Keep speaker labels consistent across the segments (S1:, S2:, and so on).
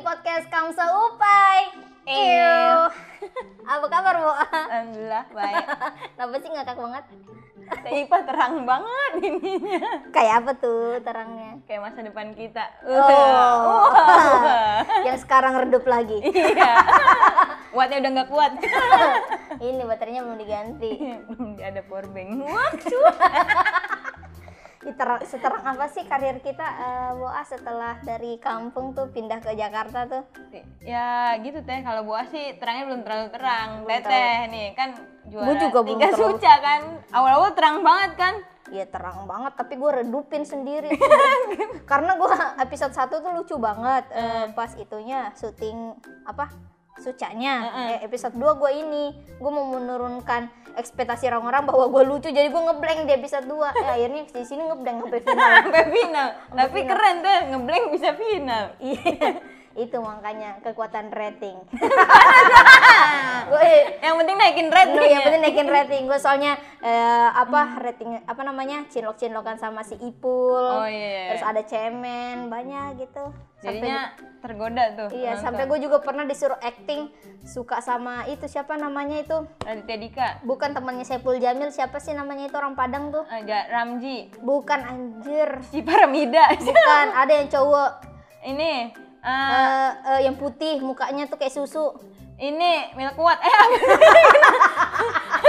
S1: podcast Kamsa Upai. Ew.
S2: Ew.
S1: Apa kabar, Bu?
S2: Alhamdulillah baik.
S1: Kenapa sih ngakak banget?
S2: Teh Ipa terang banget ininya.
S1: Kayak apa tuh terangnya?
S2: Kayak masa depan kita.
S1: Oh.
S2: Wow.
S1: Yang sekarang redup lagi.
S2: Iya. Kuatnya udah nggak kuat. Iya,
S1: Ini baterainya belum diganti.
S2: Belum ada power bank. Wah.
S1: Ih, ter- Seterang apa sih karir kita, eh, Bu? Ah, setelah dari kampung tuh pindah ke Jakarta tuh?
S2: Ya gitu teh. Kalau buah sih terangnya belum terlalu terang.
S1: Belum
S2: Teteh nih kan juara
S1: Gua juga belum
S2: tiga
S1: terlalu-
S2: suca kan. Awal-awal terang banget kan.
S1: Ya terang banget, tapi gue redupin sendiri. tuh. Karena gue episode 1 tuh lucu banget. Eh, pas itunya syuting apa? Sucanya. Eh, episode 2 gue ini, gue mau menurunkan ekspektasi orang-orang bahwa gue lucu, jadi gue ngeblank di episode 2. Eh, akhirnya di sini ngeblank sampai final.
S2: Sampai final. Tapi keren tuh ngeblank bisa final.
S1: Iya. Itu makanya kekuatan rating. eh, gue
S2: Yang penting naikin rating.
S1: Aduh, yang
S2: ya.
S1: penting naikin rating gue soalnya eh, apa rating apa namanya cinlok cinlokan sama si Ipul
S2: Oh, iya.
S1: terus ada cemen banyak gitu sampai
S2: Jadinya tergoda tuh.
S1: iya sampai gue juga pernah disuruh acting suka sama itu siapa namanya itu
S2: Raditya Dika.
S1: bukan temannya Saiful Jamil siapa sih namanya itu orang Padang tuh
S2: Ada Ramji.
S1: bukan anjir
S2: Si Paramida.
S1: bukan ada yang cowok
S2: ini ah,
S1: eh, eh, yang putih mukanya tuh kayak susu
S2: ini milk kuat. Eh apa sih?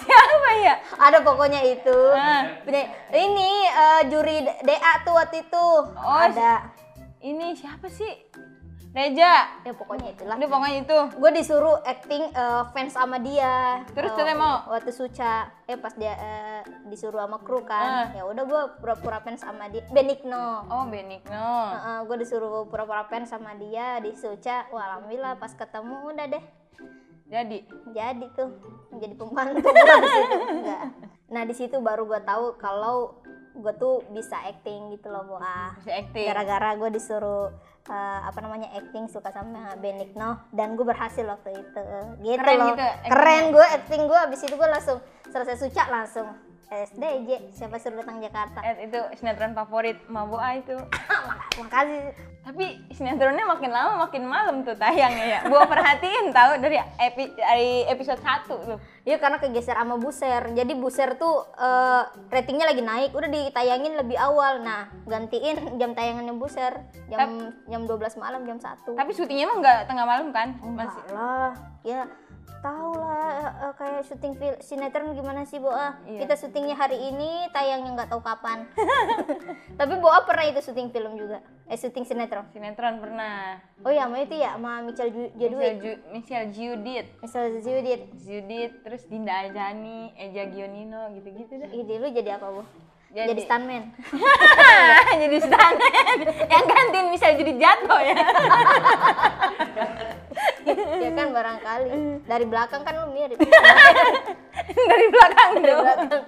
S2: Siapa ya?
S1: ada pokoknya itu
S2: Ah.
S1: Punya- ini eh, juri DA tuh waktu itu
S2: Oh,
S1: ada
S2: Ini siapa sih? Reja.
S1: ya pokoknya itulah
S2: Aduh pokoknya itu.
S1: gue disuruh acting eh, fans sama dia
S2: Terus
S1: Eh,
S2: Teteh mau?
S1: waktu suca eh pas dia eh, disuruh sama kru
S2: Ah.
S1: kan ya udah gue pura-pura fans sama dia Benigno
S2: Oh Benigno.
S1: gue disuruh pura-pura fans sama dia di suca wah alhamdulillah pas ketemu udah deh
S2: Jadi
S1: jadi tuh jadi pembantu gua di situ. Enggak. nah di situ baru gue tahu kalau gue tuh bisa acting gitu loh Boa
S2: bisa acting.
S1: gara-gara gue disuruh eh, apa namanya acting suka sama Benigno dan gue berhasil waktu itu gitu
S2: Keren
S1: loh
S2: gitu acting-nya.
S1: keren gue acting gue abis itu gue langsung selesai suca langsung SDJ siapa suruh datang Jakarta
S2: Eh, itu sinetron favorit Maboa itu.
S1: makasih
S2: Tapi sinetronnya makin lama makin malam tuh tayangnya ya. Gua perhatiin tahu dari, epi- dari episode 1 tuh.
S1: Iya karena kegeser sama Buser. Jadi Buser tuh eh, ratingnya lagi naik, udah ditayangin lebih awal. Nah, gantiin jam tayangannya Buser jam jam 12 malam jam 1.
S2: Tapi syutingnya emang nggak tengah malam kan? Masih
S1: Enggak lah ya tau lah eh, eh, kayak syuting fil- sinetron gimana sih Boa
S2: Iya.
S1: kita syutingnya hari ini tayangnya nggak tahu kapan tapi Boa pernah itu syuting film juga eh syuting sinetron
S2: sinetron pernah.
S1: oh ya sama itu ya sama Michelle Ju-
S2: Michelle,
S1: Jadwin
S2: Ju- Michelle Judith,
S1: Michelle Judith
S2: Judith, terus Dinda Ajani, Eja Gionino, gitu-gitu dah.
S1: ide lu jadi apa Bu?
S2: Jadi-
S1: Jadi, stuntman
S2: Jadi stunner yang gantiin Michelle Judith jatuh ya.
S1: ya kan barangkali dari belakang kan lu mirip
S2: Dari belakang
S1: dari
S2: tuh.
S1: belakang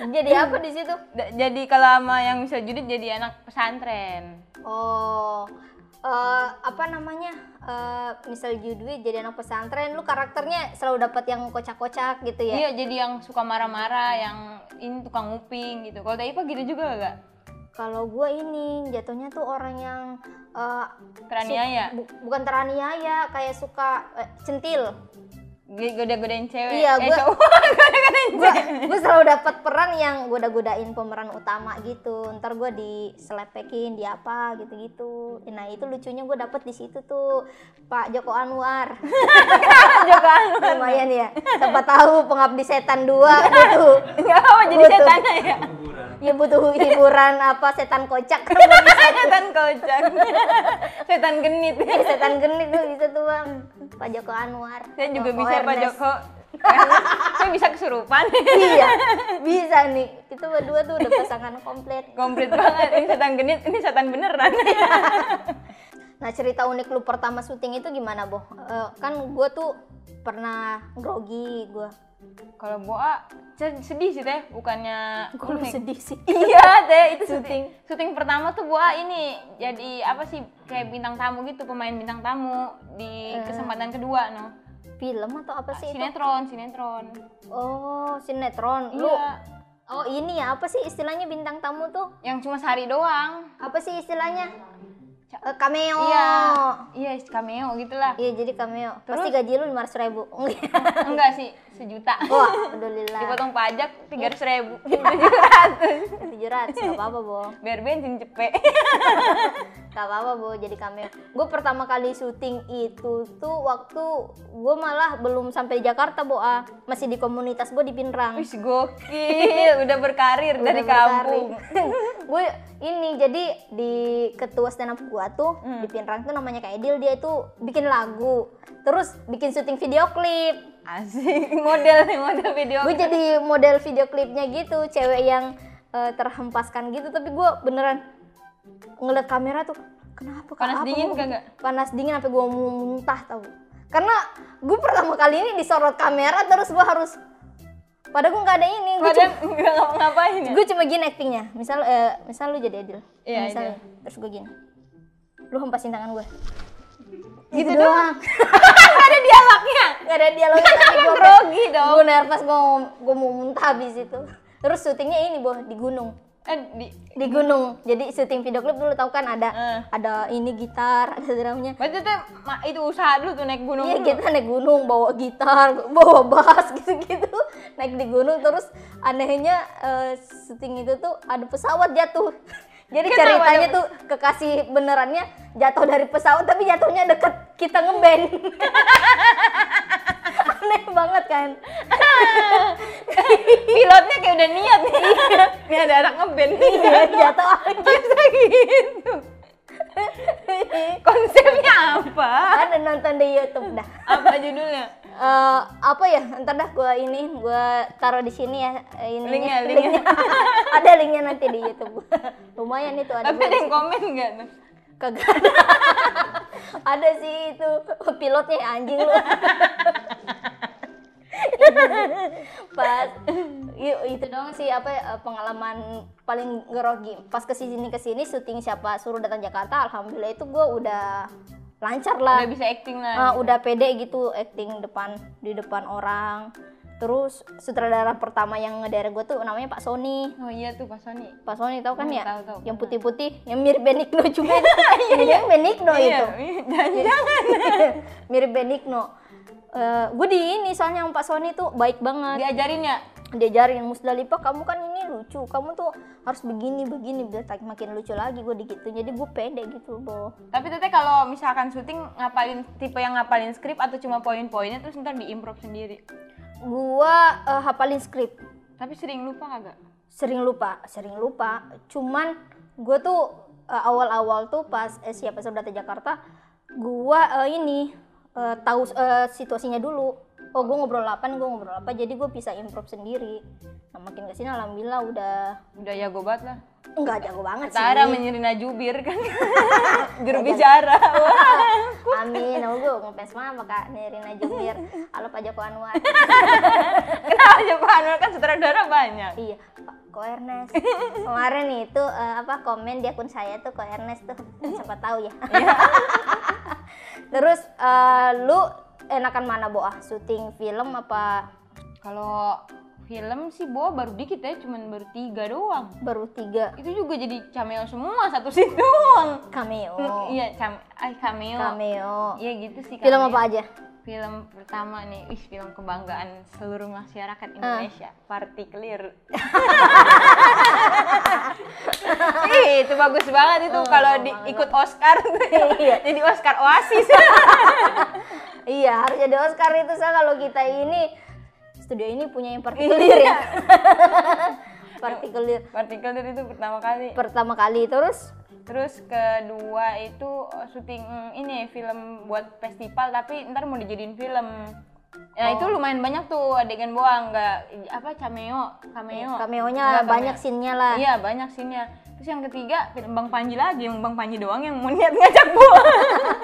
S1: jadi apa di situ
S2: Da- Jadi kalau sama yang Michelle Judith jadi anak pesantren.
S1: Oh, eh, apa namanya? Eh, misal Judwi jadi anak pesantren, lu karakternya selalu dapat yang kocak-kocak gitu ya?
S2: Iya, jadi yang suka marah-marah, yang ini tukang nguping gitu. Kalau Taipa gitu juga gak?
S1: Kalau gue ini jatuhnya tuh orang yang eh,
S2: Teraniaya.
S1: bu- bukan teraniaya, kayak suka eh, centil.
S2: G- Goda-godain cewek.
S1: Iya,
S2: eh,
S1: gua-
S2: cowok. Goda-godain
S1: Gue
S2: cewek.
S1: selalu dapat peran yang goda-godain pemeran utama gitu. Ntar gue diselepekin, di apa gitu-gitu. Nah itu lucunya gue dapet di situ tuh Pak Joko Anwar.
S2: Joko Anwar.
S1: lumayan ya siapa tahu pengabdi setan dua butuh
S2: Gak apa jadi
S1: Butuh.
S2: setan ya.
S1: ya butuh hiburan apa setan kocak Eh,
S2: setan kocak. setan genit.
S1: setan genit tuh bisa tuh bang Pak Joko Anwar
S2: Saya juga
S1: Bang
S2: bisa Pak
S1: Ernest.
S2: Joko. Saya bisa kesurupan.
S1: iya bisa nih itu berdua tuh udah pasangan komplit
S2: Komplit banget. Ini setan genit, ini setan beneran.
S1: nah cerita unik lu pertama syuting itu gimana boh Eh, kan gue tuh pernah grogi gue
S2: Kalau Boa se- sedih sih teh, bukannya unik.
S1: sedih sih
S2: Iya teh, itu syuting. Syuting pertama tuh Boa ini jadi apa sih kayak bintang tamu gitu, pemain bintang tamu di kesempatan kedua no.
S1: film atau apa sih Eh. itu
S2: Sinetron, sinetron.
S1: oh sinetron lu
S2: Iya.
S1: oh ini ya apa sih istilahnya bintang tamu tuh
S2: Yang cuma sehari doang.
S1: apa sih istilahnya
S2: Ca-
S1: Eh, cameo.
S2: Iya, iya cameo gitulah.
S1: Iya, jadi cameo. Pasti gaji
S2: Terus?
S1: lu 500 ribu.
S2: Enggak sih, sejuta.
S1: Wah, alhamdulillah.
S2: Dipotong
S1: Iya.
S2: pajak tiga ratus ribu, tujuh ratus.
S1: 700, gak apa-apa, Bo.
S2: Biar bensin cepet.
S1: Gak apa-apa, Bo, jadi cameo. Gue pertama kali syuting itu tuh waktu gue malah belum sampai Jakarta, Bo. ah. Masih di komunitas gue di Pinrang.
S2: Wih gokil, udah berkarir dari kampung.
S1: gue ini jadi di ketua stand up gue tuh
S2: Hmm.
S1: di Pinrang tuh namanya Kak Edil dia itu bikin lagu terus bikin syuting video klip
S2: Asik, model nih model video.
S1: gue jadi model video klipnya gitu cewek yang eh, terhempaskan gitu tapi gue beneran ngeliat kamera tuh kenapa Kak?
S2: Panas
S1: Apa
S2: dingin
S1: gua-
S2: kagak?
S1: panas dingin sampai gue mau muntah tau karena gue pertama kali ini disorot kamera terus gue harus padahal gue nggak ada ini gue
S2: Padahal nggak ngapa-ngapain ya.
S1: gue cuma gini actingnya misal eh, misal lu jadi Adil
S2: Iya,
S1: misal ya,
S2: Adil.
S1: terus gue gini lu hempasin tangan gue
S2: Gitu
S1: doang
S2: Ada dialognya.
S1: gak ada dialog tapi
S2: Kan
S1: gue
S2: grogi dong.
S1: gue nervous gue mau gue mau muntah habis itu terus syutingnya ini boh di gunung
S2: Eh, di-
S1: di gunung jadi syuting video klip dulu tau kan ada
S2: Eh.
S1: ada ini gitar ada drumnya
S2: Berarti itu, ma- itu usaha dulu tuh naik gunung
S1: Iya
S2: dulu.
S1: kita naik gunung bawa gitar, bawa bass gitu-gitu naik di gunung terus anehnya eh, syuting itu tuh ada pesawat jatuh. Jadi
S2: Kenapa
S1: ceritanya
S2: ada-
S1: tuh kekasih benerannya jatuh dari pesawat tapi jatuhnya deket kita ngeband. Aneh banget kan?
S2: Pilotnya kayak udah niat nih. Ini ada anak ngeband nih.
S1: Iya jatuh aja.
S2: Iya. Bisa gitu. Konsepnya apa?
S1: Ada nonton di YouTube dah.
S2: Apa judulnya?
S1: Eh, apa ya ntar dah gue ini gue taruh di sini ya eh, ininya,
S2: Linknya, linknya.
S1: ada linknya nanti di YouTube lumayan itu ada
S2: Tapi ada yang komen nggak tuh?
S1: kagak ada. ada sih itu pilotnya ya, anjing lu pas i- itu dong sih apa ya, pengalaman paling gerogi pas kesini kesini syuting siapa suruh datang Jakarta alhamdulillah itu gue udah lancar lah
S2: Udah bisa acting lah.
S1: Ah, udah pede gitu acting depan di depan orang terus sutradara pertama yang ngedere gue tuh namanya Pak Sony
S2: Oh iya tuh Pak Sony.
S1: Pak Sony tau Iya. kan
S2: Hmm,
S1: ya
S2: tahu, tahu.
S1: yang putih-putih yang mirip Benigno juga itu yang
S2: Oh
S1: Benigno
S2: iya
S1: itu
S2: jangan-jangan
S1: mirip Benigno gue di ini soalnya sama Pak Sony tuh baik banget
S2: diajarin ya.
S1: diajarin Musdalifah kamu kan ini lucu kamu tuh harus begini begini biar tak- makin lucu lagi gue digitu jadi gue pede gitu boh
S2: Tapi teteh kalau misalkan syuting ngapalin tipe yang ngapalin skrip atau cuma poin-poinnya terus ntar diimprov sendiri.
S1: gue eh, hafalin skrip
S2: Tapi sering lupa kagak?
S1: sering lupa sering lupa cuman gue tuh eh, awal-awal tuh pas eh, siapa sudah datang Jakarta gue ini eh, tahu eh, situasinya dulu oh gue ngobrol apa nih gue ngobrol apa jadi gue bisa improv sendiri nah makin kesini alhamdulillah udah
S2: Udah jago banget lah.
S1: nggak jago banget sih
S2: Tara menyirina jubir kan. Jurubicara.
S1: amin oh gue ngefans banget sama kak Nerina Jumir halo Pak Joko Anwar
S2: Kenapa aja Pak Anwar kan sutradara banyak.
S1: iya Pak Ko Ernest kemarin itu eh, apa komen di akun saya tuh Ko Ernest tuh
S2: Iya.
S1: siapa tahu ya terus eh, lu enakan mana boah syuting film apa
S2: Kalau film sih Bo baru dikit ya, cuman baru tiga doang.
S1: baru tiga
S2: Itu juga jadi cameo semua satu scene doang.
S1: cameo
S2: Iya, cam ay, cameo.
S1: Oh. cameo
S2: Iya gitu sih.
S1: film
S2: cameo.
S1: apa aja
S2: film pertama nih, wih film kebanggaan seluruh masyarakat Indonesia, Partikelir. Ih, itu bagus banget itu kalau di, ikut Oscar tuh.
S1: Iya.
S2: Jadi Oscar Oasis.
S1: iya harus jadi Oscar itu saya kalau kita ini studio ini punya yang partikelir
S2: Iya.
S1: ya partikelir
S2: Partikelir itu pertama kali.
S1: pertama kali terus
S2: Terus kedua itu eh, syuting mm, ini film buat festival tapi ntar mau dijadiin film. Nah itu lumayan banyak tuh adegan boang nggak apa cameo cameo.
S1: Iya, cameonya
S2: Nggak,
S1: banyak scene-nya lah
S2: Iya banyak sinnya. Terus yang ketiga film Bang Panji lagi, yang Bang Panji doang yang mau niat ngajak gua.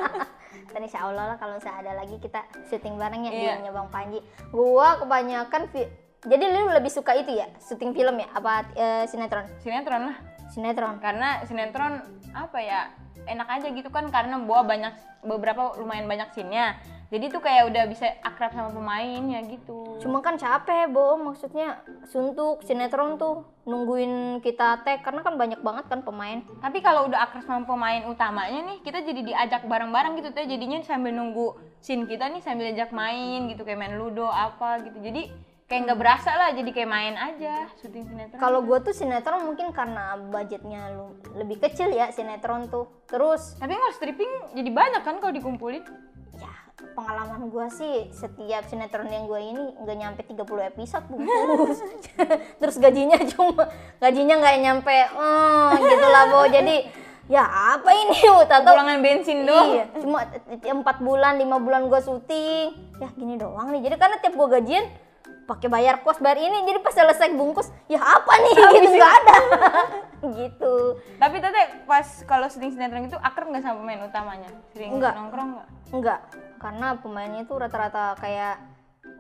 S1: Dan insya Allah lah kalau misalnya ada lagi kita syuting bareng ya
S2: Iya.
S1: di Bang Panji. Gua kebanyakan fi- jadi lu lebih suka itu ya syuting film ya apa eh, sinetron?
S2: sinetron lah,
S1: Sinetron.
S2: karena sinetron apa ya enak aja gitu kan karena bawa banyak beberapa lumayan banyak sinnya. Jadi tuh kayak udah bisa akrab sama pemainnya gitu.
S1: Cuma kan capek, Bo. Maksudnya suntuk sinetron tuh nungguin kita tag karena kan banyak banget kan pemain.
S2: Tapi kalau udah akrab sama pemain utamanya nih, kita jadi diajak bareng-bareng gitu teh. Jadinya sambil nunggu scene kita nih sambil ajak main gitu kayak main ludo apa gitu. Jadi kayak nggak berasa lah jadi kayak main aja syuting sinetron.
S1: Kalau gue tuh sinetron mungkin karena budgetnya lu- lebih kecil ya sinetron tuh. Terus
S2: tapi kalau stripping jadi banyak kan kalau dikumpulin.
S1: ya pengalaman gue sih setiap sinetron yang gue ini nggak nyampe 30 episode bung terus gajinya cuma gajinya nggak nyampe eh gitu lah bo jadi ya apa ini tahu
S2: Pulangan bensin doang.
S1: Iya, cuma t- t- empat bulan, lima bulan gue syuting. Ya gini doang nih. Jadi karena tiap gue gajian pakai bayar kos bayar ini jadi pas selesai bungkus ya apa nih gitu nggak ada gitu
S2: Tapi teteh pas kalau syuting sinetron itu akrab nggak sama pemain utamanya? Sering
S1: Nggak.
S2: nongkrong nggak?
S1: enggak karena pemainnya itu rata-rata kayak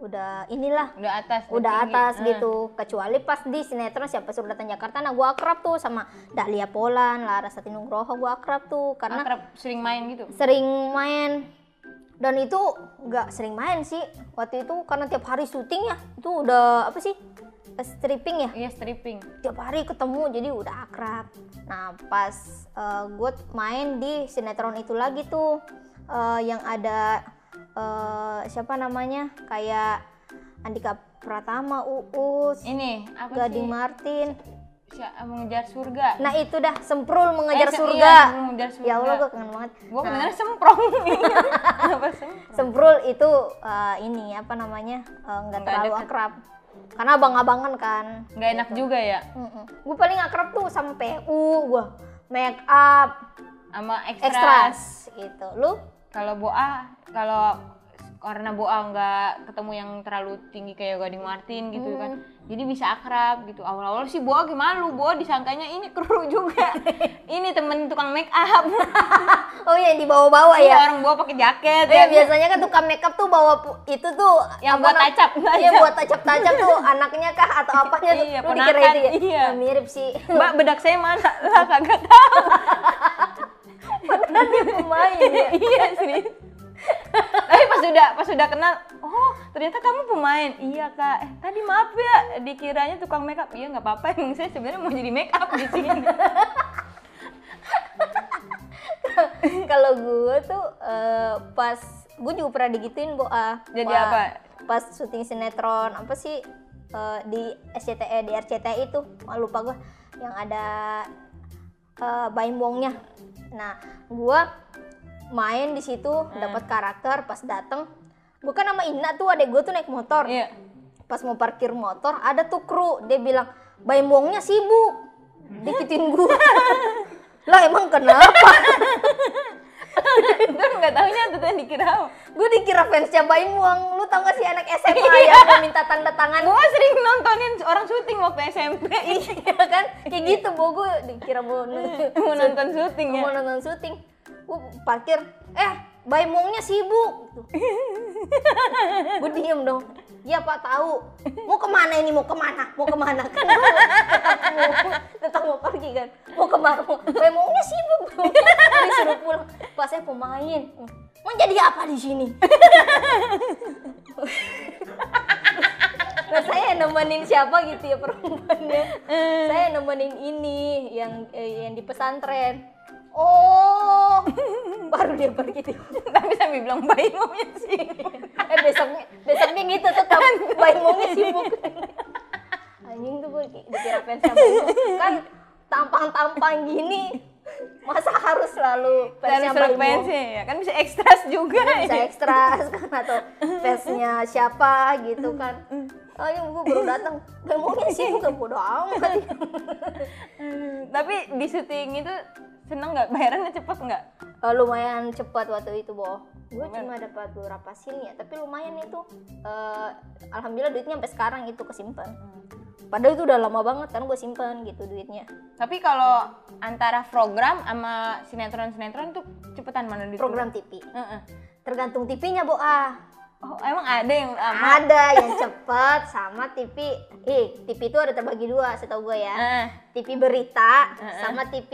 S1: udah inilah
S2: Udah atas.
S1: udah
S2: tinggi.
S1: atas
S2: Eh.
S1: gitu kecuali pas di sinetron siapa suruh datang Jakarta nah gue akrab tuh sama Dahlia Polan Larasati Nugroho gue akrab tuh karena
S2: akrab sering main gitu.
S1: sering main dan itu nggak sering main sih waktu itu karena tiap hari syuting ya itu udah apa sih stripping ya
S2: Iya stripping.
S1: tiap hari ketemu jadi udah akrab nah pas gue main di sinetron itu lagi tuh eh, yang ada eh, siapa namanya kayak Andika Pratama Uus
S2: Ini apa
S1: Gading
S2: sih?
S1: Martin
S2: Sya- mengejar surga.
S1: nah itu dah semprul mengejar
S2: Eh, se- iya,
S1: surga
S2: mengejar surga.
S1: ya Allah gue kangen banget
S2: Gua
S1: Nah,
S2: kemarin semprong. Kenapa semprong?
S1: Semprul itu eh, ini apa namanya eh, nggak
S2: Nggak
S1: terlalu
S2: deket.
S1: akrab karena abang-abangan kan.
S2: Gak enak juga ya
S1: Gue paling akrab tuh sama PU, gue make up,
S2: sama ekstras.
S1: extras gitu. Lu
S2: Kalau Boa, kalau karena Boa nggak ketemu yang terlalu tinggi kayak Gading Martin gitu kan.
S1: Hmm.
S2: Jadi bisa akrab gitu. Awal-awal sih Boa gimana lu? Boa disangkanya ini kru juga. ini temen tukang make up.
S1: oh ya dibawa-bawa
S2: Iya,
S1: ya.
S2: orang Boa pakai jaket.
S1: Iya
S2: ya.
S1: biasanya kan tukang make up tuh bawa pu- itu tuh
S2: Yang
S1: apa
S2: buat
S1: nam-
S2: tacap,
S1: Iya
S2: tacap.
S1: buat tacap-tacap tuh anaknya kah atau apanya tuh.
S2: Iya,
S1: Lu dikira itu ya.
S2: ponakan, iya.
S1: Ya, mirip sih.
S2: Mbak bedak saya mana? Lah kagak tahu.
S1: Padahal dia pemain ya.
S2: iya serius. Tapi pas sudah pas sudah kenal, oh ternyata kamu pemain. Iya kak. Eh, tadi maaf ya, dikiranya tukang make up. Iya nggak apa-apa. Emang saya sebenarnya mau jadi make up di sini.
S1: Kalau gue tuh eh, pas gue juga pernah digituin Bo ah.
S2: Jadi
S1: Wah,
S2: apa?
S1: Pas syuting sinetron apa sih eh, di SCTE di RCTI itu Wah, lupa gue yang ada eh, Baim Wongnya. Nah, gue main di situ
S2: Hmm.
S1: dapat karakter pas dateng gue kan sama Ina tuh adek gue tuh naik motor
S2: iya.
S1: pas mau parkir motor ada tuh kru dia bilang Baim Wongnya sibuk dikitin gue lah emang kenapa
S2: Terus nggak tahunya tuh kan dikira. apa.
S1: gue dikira fansnya Baim Wong lu tau gak sih anak SMA yang mau minta tanda tangan
S2: Gua sering nontonin orang syuting waktu SMP.
S1: iya kan kayak gitu bo gue dikira mau nonton
S2: mau nonton syuting ya.
S1: mau nonton syuting gue parkir eh Baim Wongnya sibuk gue diem dong iya pak tahu mau kemana ini mau kemana mau kemana kan gue tetap mau tetap mau pergi kan mau kemana mau Baim Wongnya sibuk Gua disuruh pulang pas saya pemain mau jadi apa di sini Nah, saya yang nemenin siapa gitu ya perempuannya.
S2: Eh,
S1: saya yang nemenin ini yang eh, yang di pesantren. Oh, baru dia pergi tidur.
S2: Tapi sambil bilang bayi ngomongnya sih.
S1: Eh, besoknya besoknya gitu tetap baimongnya sibuk. Anjing tuh gue dikira fans sama Baim. kan tampang-tampang gini masa harus selalu
S2: Lalu
S1: fansnya
S2: suruh
S1: Baim Wong?
S2: fansnya ya. Kan bisa ekstras juga.
S1: Iya,
S2: ya.
S1: bisa ekstras kan atau fansnya siapa gitu kan ayo gue baru datang gak maunya sih gue bodo amat
S2: Tapi di syuting itu seneng nggak? Bayarannya cepet nggak?
S1: Eh, lumayan cepat waktu itu boh gue cuma dapat beberapa scene ya tapi lumayan itu Eh, alhamdulillah duitnya sampai sekarang itu kesimpan padahal itu udah lama banget kan gue simpen gitu duitnya
S2: Tapi kalau antara program sama sinetron-sinetron tuh cepetan mana duit?
S1: program TV
S2: Heeh.
S1: tergantung TV-nya boh ah
S2: Oh, emang ada yang lama?
S1: Ada yang cepat sama TV. Eh, TV itu ada terbagi dua setahu gue ya.
S2: Ah,
S1: TV berita
S2: Heeh.
S1: sama TV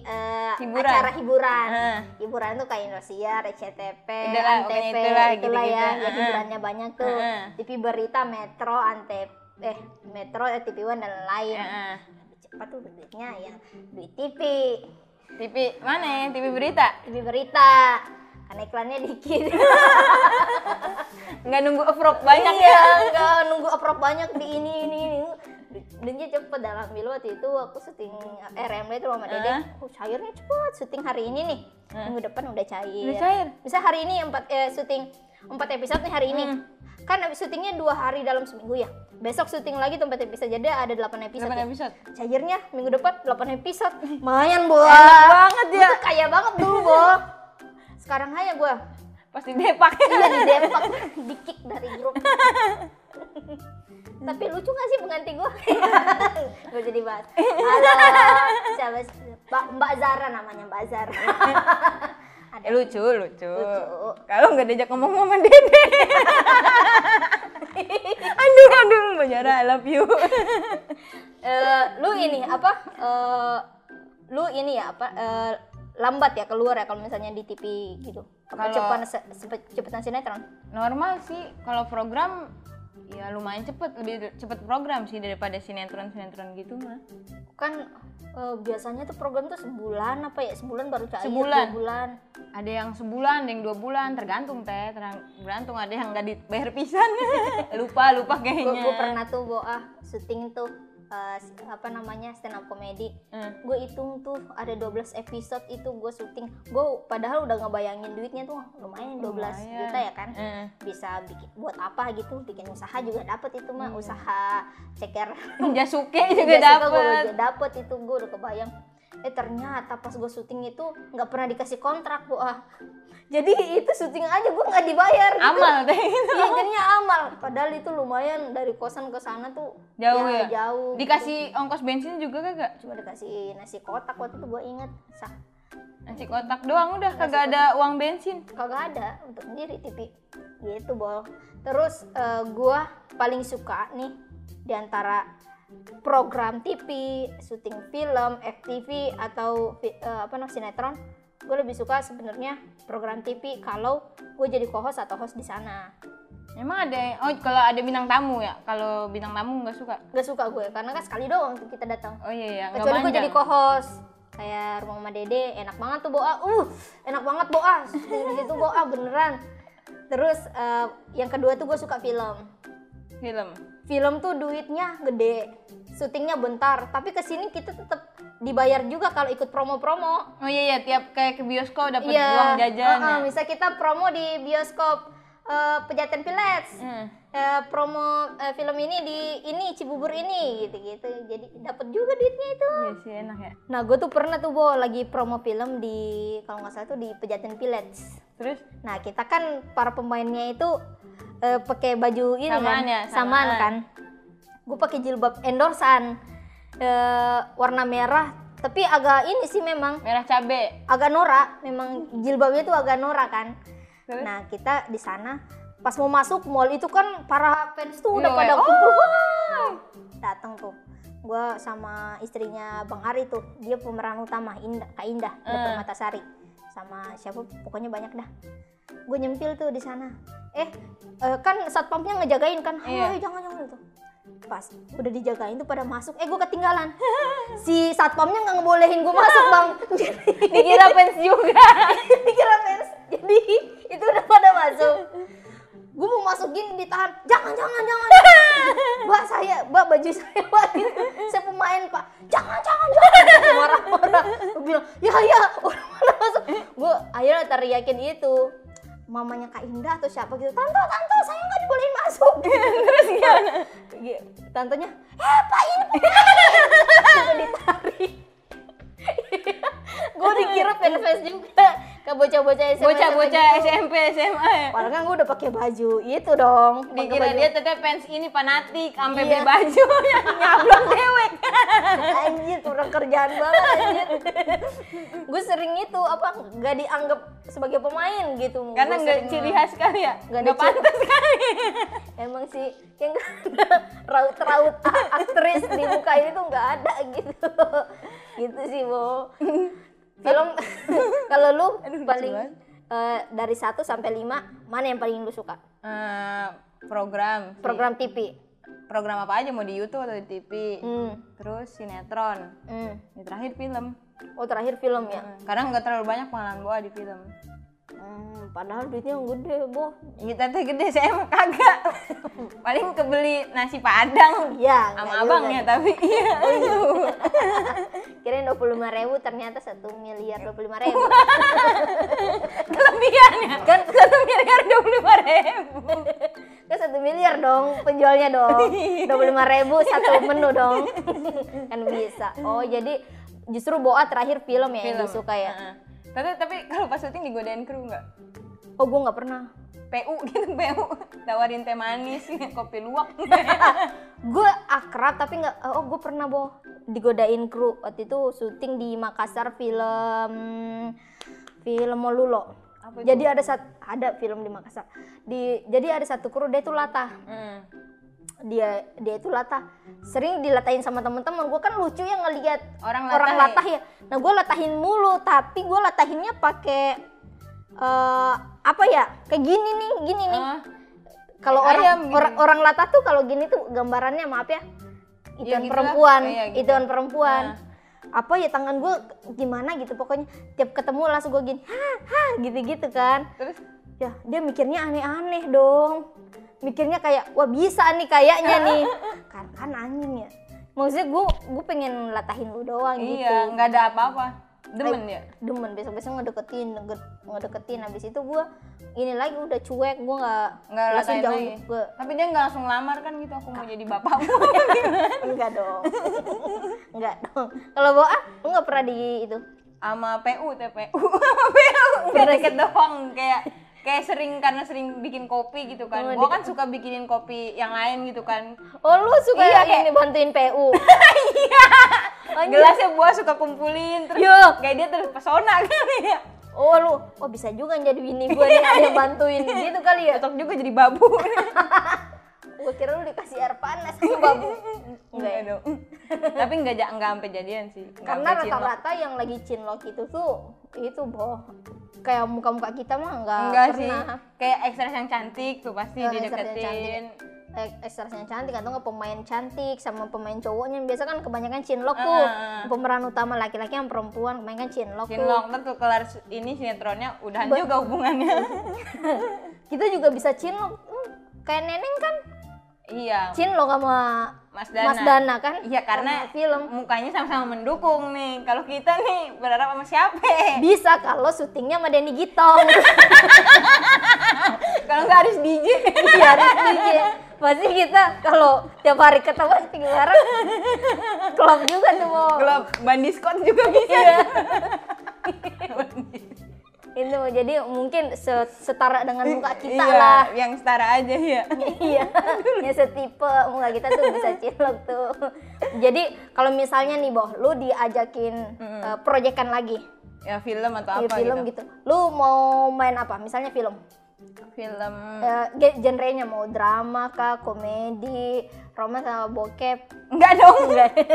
S1: eh,
S2: Hiburan. Eh,
S1: acara hiburan.
S2: Heeh.
S1: Hiburan tuh kayak Indosiar, RCTP,
S2: Itulah,
S1: Antv,
S2: pokoknya itulah,
S1: itulah ya,
S2: gitu-gitu.
S1: ya
S2: Heeh.
S1: hiburannya banyak tuh.
S2: Heeh.
S1: TV berita, Metro, Antv, eh Metro, eh, TV One dan lain.
S2: ah, ah.
S1: Cepat tuh duitnya ya duit TV,
S2: TV mana ya? TV berita?
S1: TV berita. Karena iklannya dikit.
S2: Nggak nunggu approve banyak
S1: iya,
S2: ya?
S1: enggak nunggu approve banyak di ini ini ini. Duitnya cepet dalam mil waktu itu aku syuting RMD itu sama Dede.
S2: Heeh.
S1: Oh, cairnya cepet syuting hari ini nih.
S2: Heeh.
S1: Minggu depan udah cair.
S2: Udah cair?
S1: Bisa hari ini empat eh, syuting empat episode nih hari ini. Kan habis syutingnya dua hari dalam seminggu ya. Besok syuting lagi tempat episode jadi ada delapan episode.
S2: Berapa
S1: ya.
S2: episode?
S1: Cairnya minggu depan 8 episode. Mayan, Bo.
S2: banget
S1: Gua
S2: ya.
S1: tuh Kaya banget dulu, Bo. Sekarang aja gua
S2: Pasti depak.
S1: Iya di Depok dikick dari grup. Tapi lucu gak sih pengganti gue? gue jadi bahas. Halo, siapa sih? Mbak, Mbak Zara namanya Mbak Zara.
S2: Eh, lucu, lucu.
S1: Lucu.
S2: Kalau nggak diajak ngomong sama Dede. aduh, aduh, Mbak Zara, I love you.
S1: Eh, lu ini apa? Eh, lu ini ya apa? Eh, lambat ya keluar ya kalau misalnya di TV gitu. Apa
S2: Kalau-
S1: cepetan se- sepe- cepetan sinetron?
S2: Normal sih, kalau program ya lumayan cepet, lebih cepet program sih daripada sinetron-sinetron gitu mah.
S1: Kan eh, biasanya tuh program tuh sebulan apa ya? Sebulan baru cair.
S2: Sebulan.
S1: dua bulan.
S2: Ada yang sebulan, ada yang dua bulan, tergantung teh, terang- tergantung ada yang nggak dibayar pisan. lupa, lupa
S1: gue
S2: kayaknya.
S1: pernah tuh boah syuting tuh eh, s- apa namanya stand up comedy
S2: Eh,
S1: gue hitung tuh ada 12 episode itu gue syuting gue padahal udah ngebayangin duitnya tuh lumayan 12
S2: Lumayan.
S1: juta ya kan
S2: eh.
S1: bisa bikin buat apa gitu bikin usaha juga dapet itu mah usaha ceker
S2: Jasuke Hmm. juga
S1: Tiga suka gua
S2: dapet.
S1: juga dapet itu gue udah kebayang eh ternyata pas gue syuting itu nggak pernah dikasih kontrak boah jadi itu syuting aja gue nggak dibayar gitu.
S2: Amal teh.
S1: Iya jadinya amal. Padahal itu lumayan dari kosan ke sana tuh
S2: Jauh ya?
S1: Jauh. gitu.
S2: Dikasih ongkos bensin juga kagak?
S1: Cuma dikasih nasi kotak waktu itu gue inget. Sah,
S2: Nasi kotak doang udah kagak ada uang bensin.
S1: kagak ada untuk sendiri TV. Gitu bol. Terus eh, gua paling suka nih di antara program TV, syuting film, FTV atau fi- eh, apa namanya sinetron, gue lebih suka sebenarnya program TV kalau gue jadi co-host atau host di sana.
S2: Emang ada oh kalau ada bintang tamu ya? Kalau bintang tamu nggak suka.
S1: Gak suka gue karena kan sekali doang tuh kita datang.
S2: Oh iya ya, nggak
S1: kecuali gue
S2: panjang.
S1: jadi co-host kayak rumah mama dede enak banget tuh boa uh enak banget boa itu boa beneran terus eh, yang kedua tuh gue suka film
S2: film.
S1: film tuh duitnya gede syutingnya bentar tapi kesini kita tetap dibayar juga kalau ikut promo-promo
S2: Oh iya ya, tiap kayak ke bioskop dapat
S1: iya
S2: uang jajan.
S1: heeh,
S2: ya.
S1: misal kita promo di bioskop eh, pejaten village
S2: Hmm.
S1: Eh, promo eh, film ini di ini cibubur ini gitu-gitu jadi dapat juga duitnya itu
S2: Iya sih enak ya.
S1: Nah, gue tuh pernah tuh Bo lagi promo film di kalau nggak salah tuh di Pejaten Village.
S2: Terus
S1: Nah, kita kan para pemainnya itu eh, pakai baju ini
S2: Samaan
S1: kan,
S2: ya,
S1: samaan
S2: samaan.
S1: kan. Gue pakai jilbab endorsan eh, warna merah, tapi agak ini sih memang
S2: merah cabe.
S1: agak norak, memang jilbabnya tuh agak norak kan.
S2: Terus?
S1: Nah, kita di sana pas mau masuk mall itu kan para fans tuh udah
S2: Iya,
S1: pada
S2: weh.
S1: kumpul wah datang tuh gue sama istrinya bang Ari tuh dia pemeran utama Indah Kak Indah dari
S2: Eh.
S1: Permatasari sama siapa pokoknya banyak dah gue nyempil tuh di sana eh eh, kan satpamnya ngejagain kan ayo
S2: Iya.
S1: jangan jangan tuh pas udah dijagain tuh pada masuk eh gue ketinggalan si satpamnya nggak ngebolehin gue masuk bang
S2: Dikira fans juga.
S1: dikira fans jadi itu udah pada masuk gue mau masukin ditahan jangan jangan jangan mbak saya mbak baju saya mbak gitu. saya pemain pak jangan jangan jangan marah marah gue bilang ya ya orang mana masuk gue akhirnya teriakin itu mamanya kak Indah atau siapa gitu tante tante saya nggak dibolehin masuk terus gimana tantenya eh pak ini pemain Gitu ditarik gue dikira fans juga ke bocah-bocah SMA
S2: Bocah-bocah
S1: Iya.
S2: SMP, SMA.
S1: Padahal kan gue udah pakai baju itu dong. pakai
S2: Dikira
S1: baju.
S2: dia teteh fans ini fanatik, sampai
S1: Iya.
S2: beli baju yang nyablon dewek.
S1: anjir kurang kerjaan banget anjir. gue sering itu apa nggak dianggap sebagai pemain gitu.
S2: Karena
S1: Gua
S2: nggak
S1: sering-
S2: ciri khas kali ya,
S1: Nggak ada
S2: nggak
S1: ciri-
S2: pantas kali.
S1: Emang sih yang nggak ada raut-raut a- aktris di muka ini tuh nggak ada gitu. gitu sih, Bo. Film kalau lu paling
S2: banget.
S1: eh, dari 1 sampai 5 mana yang paling lu suka?
S2: Eh, program, sih.
S1: Program TV.
S2: program apa aja mau di YouTube atau di TV,
S1: Hmm.
S2: terus sinetron,
S1: hmm.
S2: Yang terakhir film.
S1: Oh, terakhir film ya.
S2: Hmm, Karena nggak terlalu banyak pengalaman gua di film.
S1: Hmm, padahal duitnya gede, Bo.
S2: Ini teteh gede saya mah kagak. Paling kebeli nasi padang
S1: Ya,
S2: sama
S1: nggak juga.
S2: abangnya tapi iya.
S1: Kirain 25 ribu ternyata 1 miliar 25 ribu.
S2: Kelebihannya kan satu miliar dua puluh lima ribu.
S1: Kan 1 miliar dong penjualnya dong. 25 ribu satu menu dong. kan bisa. Oh jadi justru Boa terakhir film ya yang disuka ya.
S2: Heeh. Tapi tapi kalau pas syuting digodain kru nggak?
S1: Oh gue nggak pernah.
S2: PU gitu PU tawarin teh manis kopi luwak
S1: Gue akrab tapi nggak. Oh gue pernah Bo digodain kru waktu itu syuting di Makassar film film Molulo.
S2: Apa itu?
S1: Jadi ada sat, ada film di Makassar. Di jadi ada satu kru dia itu latah.
S2: Hmm.
S1: dia dia itu latah sering dilatahin sama teman-teman gue kan lucu ya ngelihat
S2: Orang latah
S1: orang
S2: ya?
S1: latah ya nah gue latahin mulu tapi gue latahinnya pakai eh apa ya kayak gini nih gini nih
S2: Ah,
S1: kalau
S2: kayak ayam
S1: orang
S2: gitu. gini.
S1: orang orang latah tuh kalau gini tuh gambarannya maaf ya ituan
S2: Ya, gitu lah.
S1: perempuan
S2: Oh, iya, gitu.
S1: ituan perempuan apa ya tangan gue gimana gitu pokoknya tiap ketemu langsung gue gini ha ha gitu gitu kan
S2: terus
S1: ya dia mikirnya aneh-aneh dong mikirnya kayak wah bisa nih kayaknya nih kan kan anjing ya maksudnya gue gue pengen latahin lu doang gitu
S2: iya nggak ada apa-apa demen ya
S1: demen besok-besok ngedeketin ngede- ngedeketin habis itu gue ini lagi udah cuek gue nggak
S2: nggak
S1: langsung
S2: ratain
S1: jauh
S2: lagi
S1: gue
S2: tapi dia nggak langsung lamar kan gitu aku mau jadi bapakmu
S1: enggak dong enggak dong kalau bawa lu nggak pernah di itu
S2: sama PU TPU sama PU nggak
S1: Bener
S2: deket doang kayak kayak sering karena sering bikin kopi gitu kan
S1: Oh,
S2: gua kan suka bikinin kopi yang lain gitu kan
S1: oh lu suka
S2: Iya,
S1: ini bantuin PU
S2: gelasnya gua suka kumpulin terus
S1: Yo.
S2: kayak dia terpesona kali ya
S1: oh lu oh bisa juga jadi bini gue nih ada yang bantuin gitu kali ya
S2: cocok juga jadi babu
S1: gue kira lu dikasih air panas sama babu enggak ya?
S2: dong tapi nggak ja- nggak sampai jadian sih Nggak
S1: karena
S2: sampai cinlok.
S1: rata-rata yang lagi cinlok itu tuh itu boh kayak muka-muka kita mah enggak,
S2: enggak sih
S1: pernah
S2: Eh, kayak extras yang cantik tuh pasti
S1: Enggak, extras yang
S2: dideketin
S1: Eh, ekstrasnya cantik atau nggak pemain cantik sama pemain cowoknya biasa kan kebanyakan cinlok
S2: Ah,
S1: tuh
S2: ah, ah.
S1: pemeran utama laki-laki yang perempuan kebanyakan cinlok,
S2: Cinlok ntar tuh kelar s- ini sinetronnya udahan juga hubungannya.
S1: tuh kita juga bisa cinlok Hmm, kayak neneng kan
S2: iya,
S1: cinlok sama
S2: Mas Dana.
S1: Mas Dana kan
S2: Iya karena
S1: Sama film
S2: mukanya sama-sama mendukung nih. Kalau kita nih berharap sama siapa?
S1: bisa kalau syutingnya sama Denny Gitong
S2: Kalau nggak harus DJ.
S1: Iya, harus DJ. Pasti kita kalau tiap hari ketemu pasti bareng. Klop juga tuh mau.
S2: Kalau Bandi Scott juga bisa.
S1: Iya. Itu jadi mungkin se- setara dengan muka kita
S2: iya,
S1: lah.
S2: yang setara aja ya.
S1: iya, ya setipe muka kita tuh bisa cilok tuh. Jadi kalau misalnya nih Boh, lu diajakin eh, proyekan lagi
S2: Ya film atau
S1: di
S2: apa
S1: film
S2: gitu.
S1: gitu. Lu mau main apa? Misalnya film. gitu.
S2: Film
S1: Eh, ge- genrenya mau drama kah, komedi, romance sama bokep.
S2: enggak dong.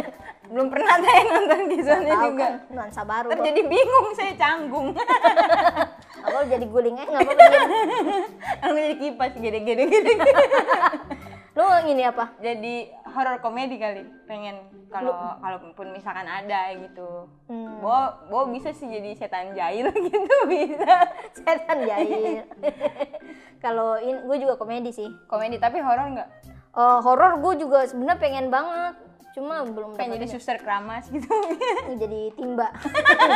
S2: Belum pernah saya nonton di sana
S1: Tahu
S2: juga.
S1: kan nuansa baru.
S2: Ntar
S1: Boh.
S2: jadi bingung saya canggung.
S1: Apa lu jadi gulingnya nggak apa-apa dia.
S2: Lalu jadi kipas gede-gede gede.
S1: Lu ini apa?
S2: jadi horor komedi kali pengen kalau kalaupun misalkan ada gitu
S1: Hmm.
S2: bo bo bisa sih jadi setan jahil gitu bisa
S1: Setan jahil. Kalau ini gue juga komedi sih.
S2: komedi tapi horor nggak
S1: Eh horor gue juga sebenarnya pengen banget. Cuma belum
S2: pengen
S1: dapat
S2: jadi suster keramas gitu
S1: jadi timba,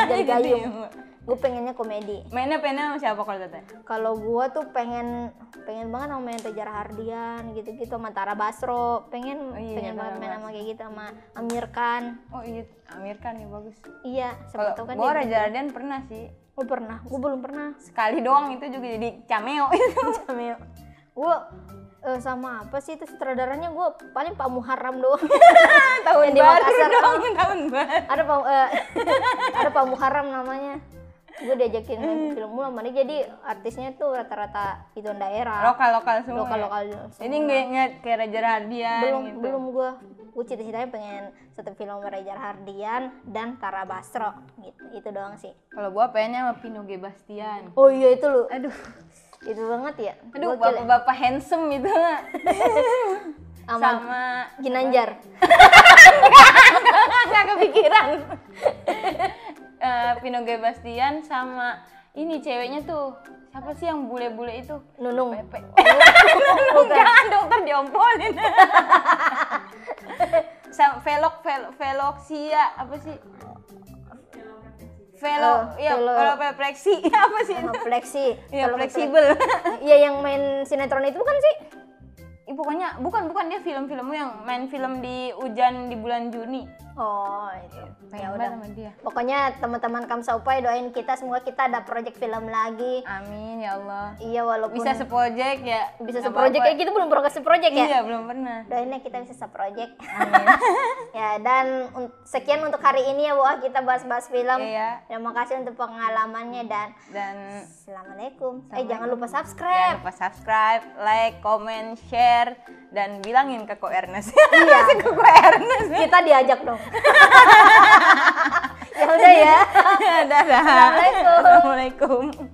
S1: jadi gayung. Gue pengennya komedi.
S2: mainnya pengennya sama siapa kalau teteh
S1: Kalau gue tuh pengen pengen banget sama main Reza Rahardian gitu-gitu sama Tara Basro. Pengen
S2: Oh iya,
S1: pengen banget
S2: Tara
S1: main sama kayak gitu sama Amir Khan.
S2: oh iya Amir kan ya bagus
S1: Iya, siapa
S2: kalau
S1: tahu kan
S2: gua
S1: dia-
S2: Raja Raden pernah sih
S1: Oh Gue pernah, gue belum pernah.
S2: gitu. Sekali doang itu juga jadi cameo itu. cameo.
S1: Gue eh, sama apa sih itu sutradaranya gue paling Pak Muharram doang. Yang
S2: tahun
S1: di
S2: baru
S1: Makassar.
S2: dong, tahun baru.
S1: ada Pak eh, ada Pak Muharram namanya. Gue diajakin main
S2: Hmm.
S1: film mulu sama dia. Jadi artisnya tuh rata-rata itu daerah.
S2: Lokal-lokal semua. ya?
S1: Lokal-lokal.
S2: Jadi nggak nggak kayak Raja Radian
S1: belum
S2: gitu.
S1: belum gue gue cita-citanya pengen satu film sama Reza Hardian dan Tara Basro gitu itu doang sih
S2: Kalau gua pengennya sama Pino G. Bastian.
S1: oh iya itu lu
S2: Aduh,
S1: itu banget ya Gokil
S2: aduh
S1: ya.
S2: bapak-bapak handsome itu.
S1: sama
S2: Sama
S1: Ginanjar
S2: nggak kepikiran. Eh, Pino G. Bastian sama ini ceweknya tuh siapa sih yang bule-bule itu?
S1: Nunung
S2: Pepe. Nunung, jangan dokter diompolin. Sa- velok, velok, veloksia apa sih? Velo,
S1: Oh,
S2: ya,
S1: velo-
S2: kalau pepreksi apa sih?
S1: sama Flexi
S2: Ya,
S1: Kalau
S2: fleksibel.
S1: kata- iya yang main sinetron itu bukan sih
S2: Ih, pokoknya bukan bukan dia film-film yang main film di hujan di bulan Juni.
S1: oh itu ya
S2: Pengen Iya, banget
S1: udah
S2: sama dia.
S1: pokoknya teman-teman Kamsaupai doain kita semoga kita ada project film lagi
S2: Amin ya Allah.
S1: iya walaupun
S2: Bisa seproject ya.
S1: bisa
S2: nggak
S1: seproject
S2: apa-apa.
S1: kayak gitu belum pernah seproject ya
S2: Iya, belum pernah.
S1: doainnya kita bisa seproject ya dan un- sekian untuk hari ini ya wah kita bahas-bahas film
S2: Iya.
S1: terima kasih untuk pengalamannya dan
S2: Dan
S1: assalamualaikum eh jangan lupa
S2: Assalamualaikum. jangan
S1: subscribe
S2: lupa subscribe, like, comment, share dan bilangin ke Ko Ernest.
S1: Iya. Gitu
S2: ke Ko Ernest.
S1: kita diajak dong ya udah ya
S2: Dadah.
S1: Assalamualaikum.
S2: Assalamualaikum.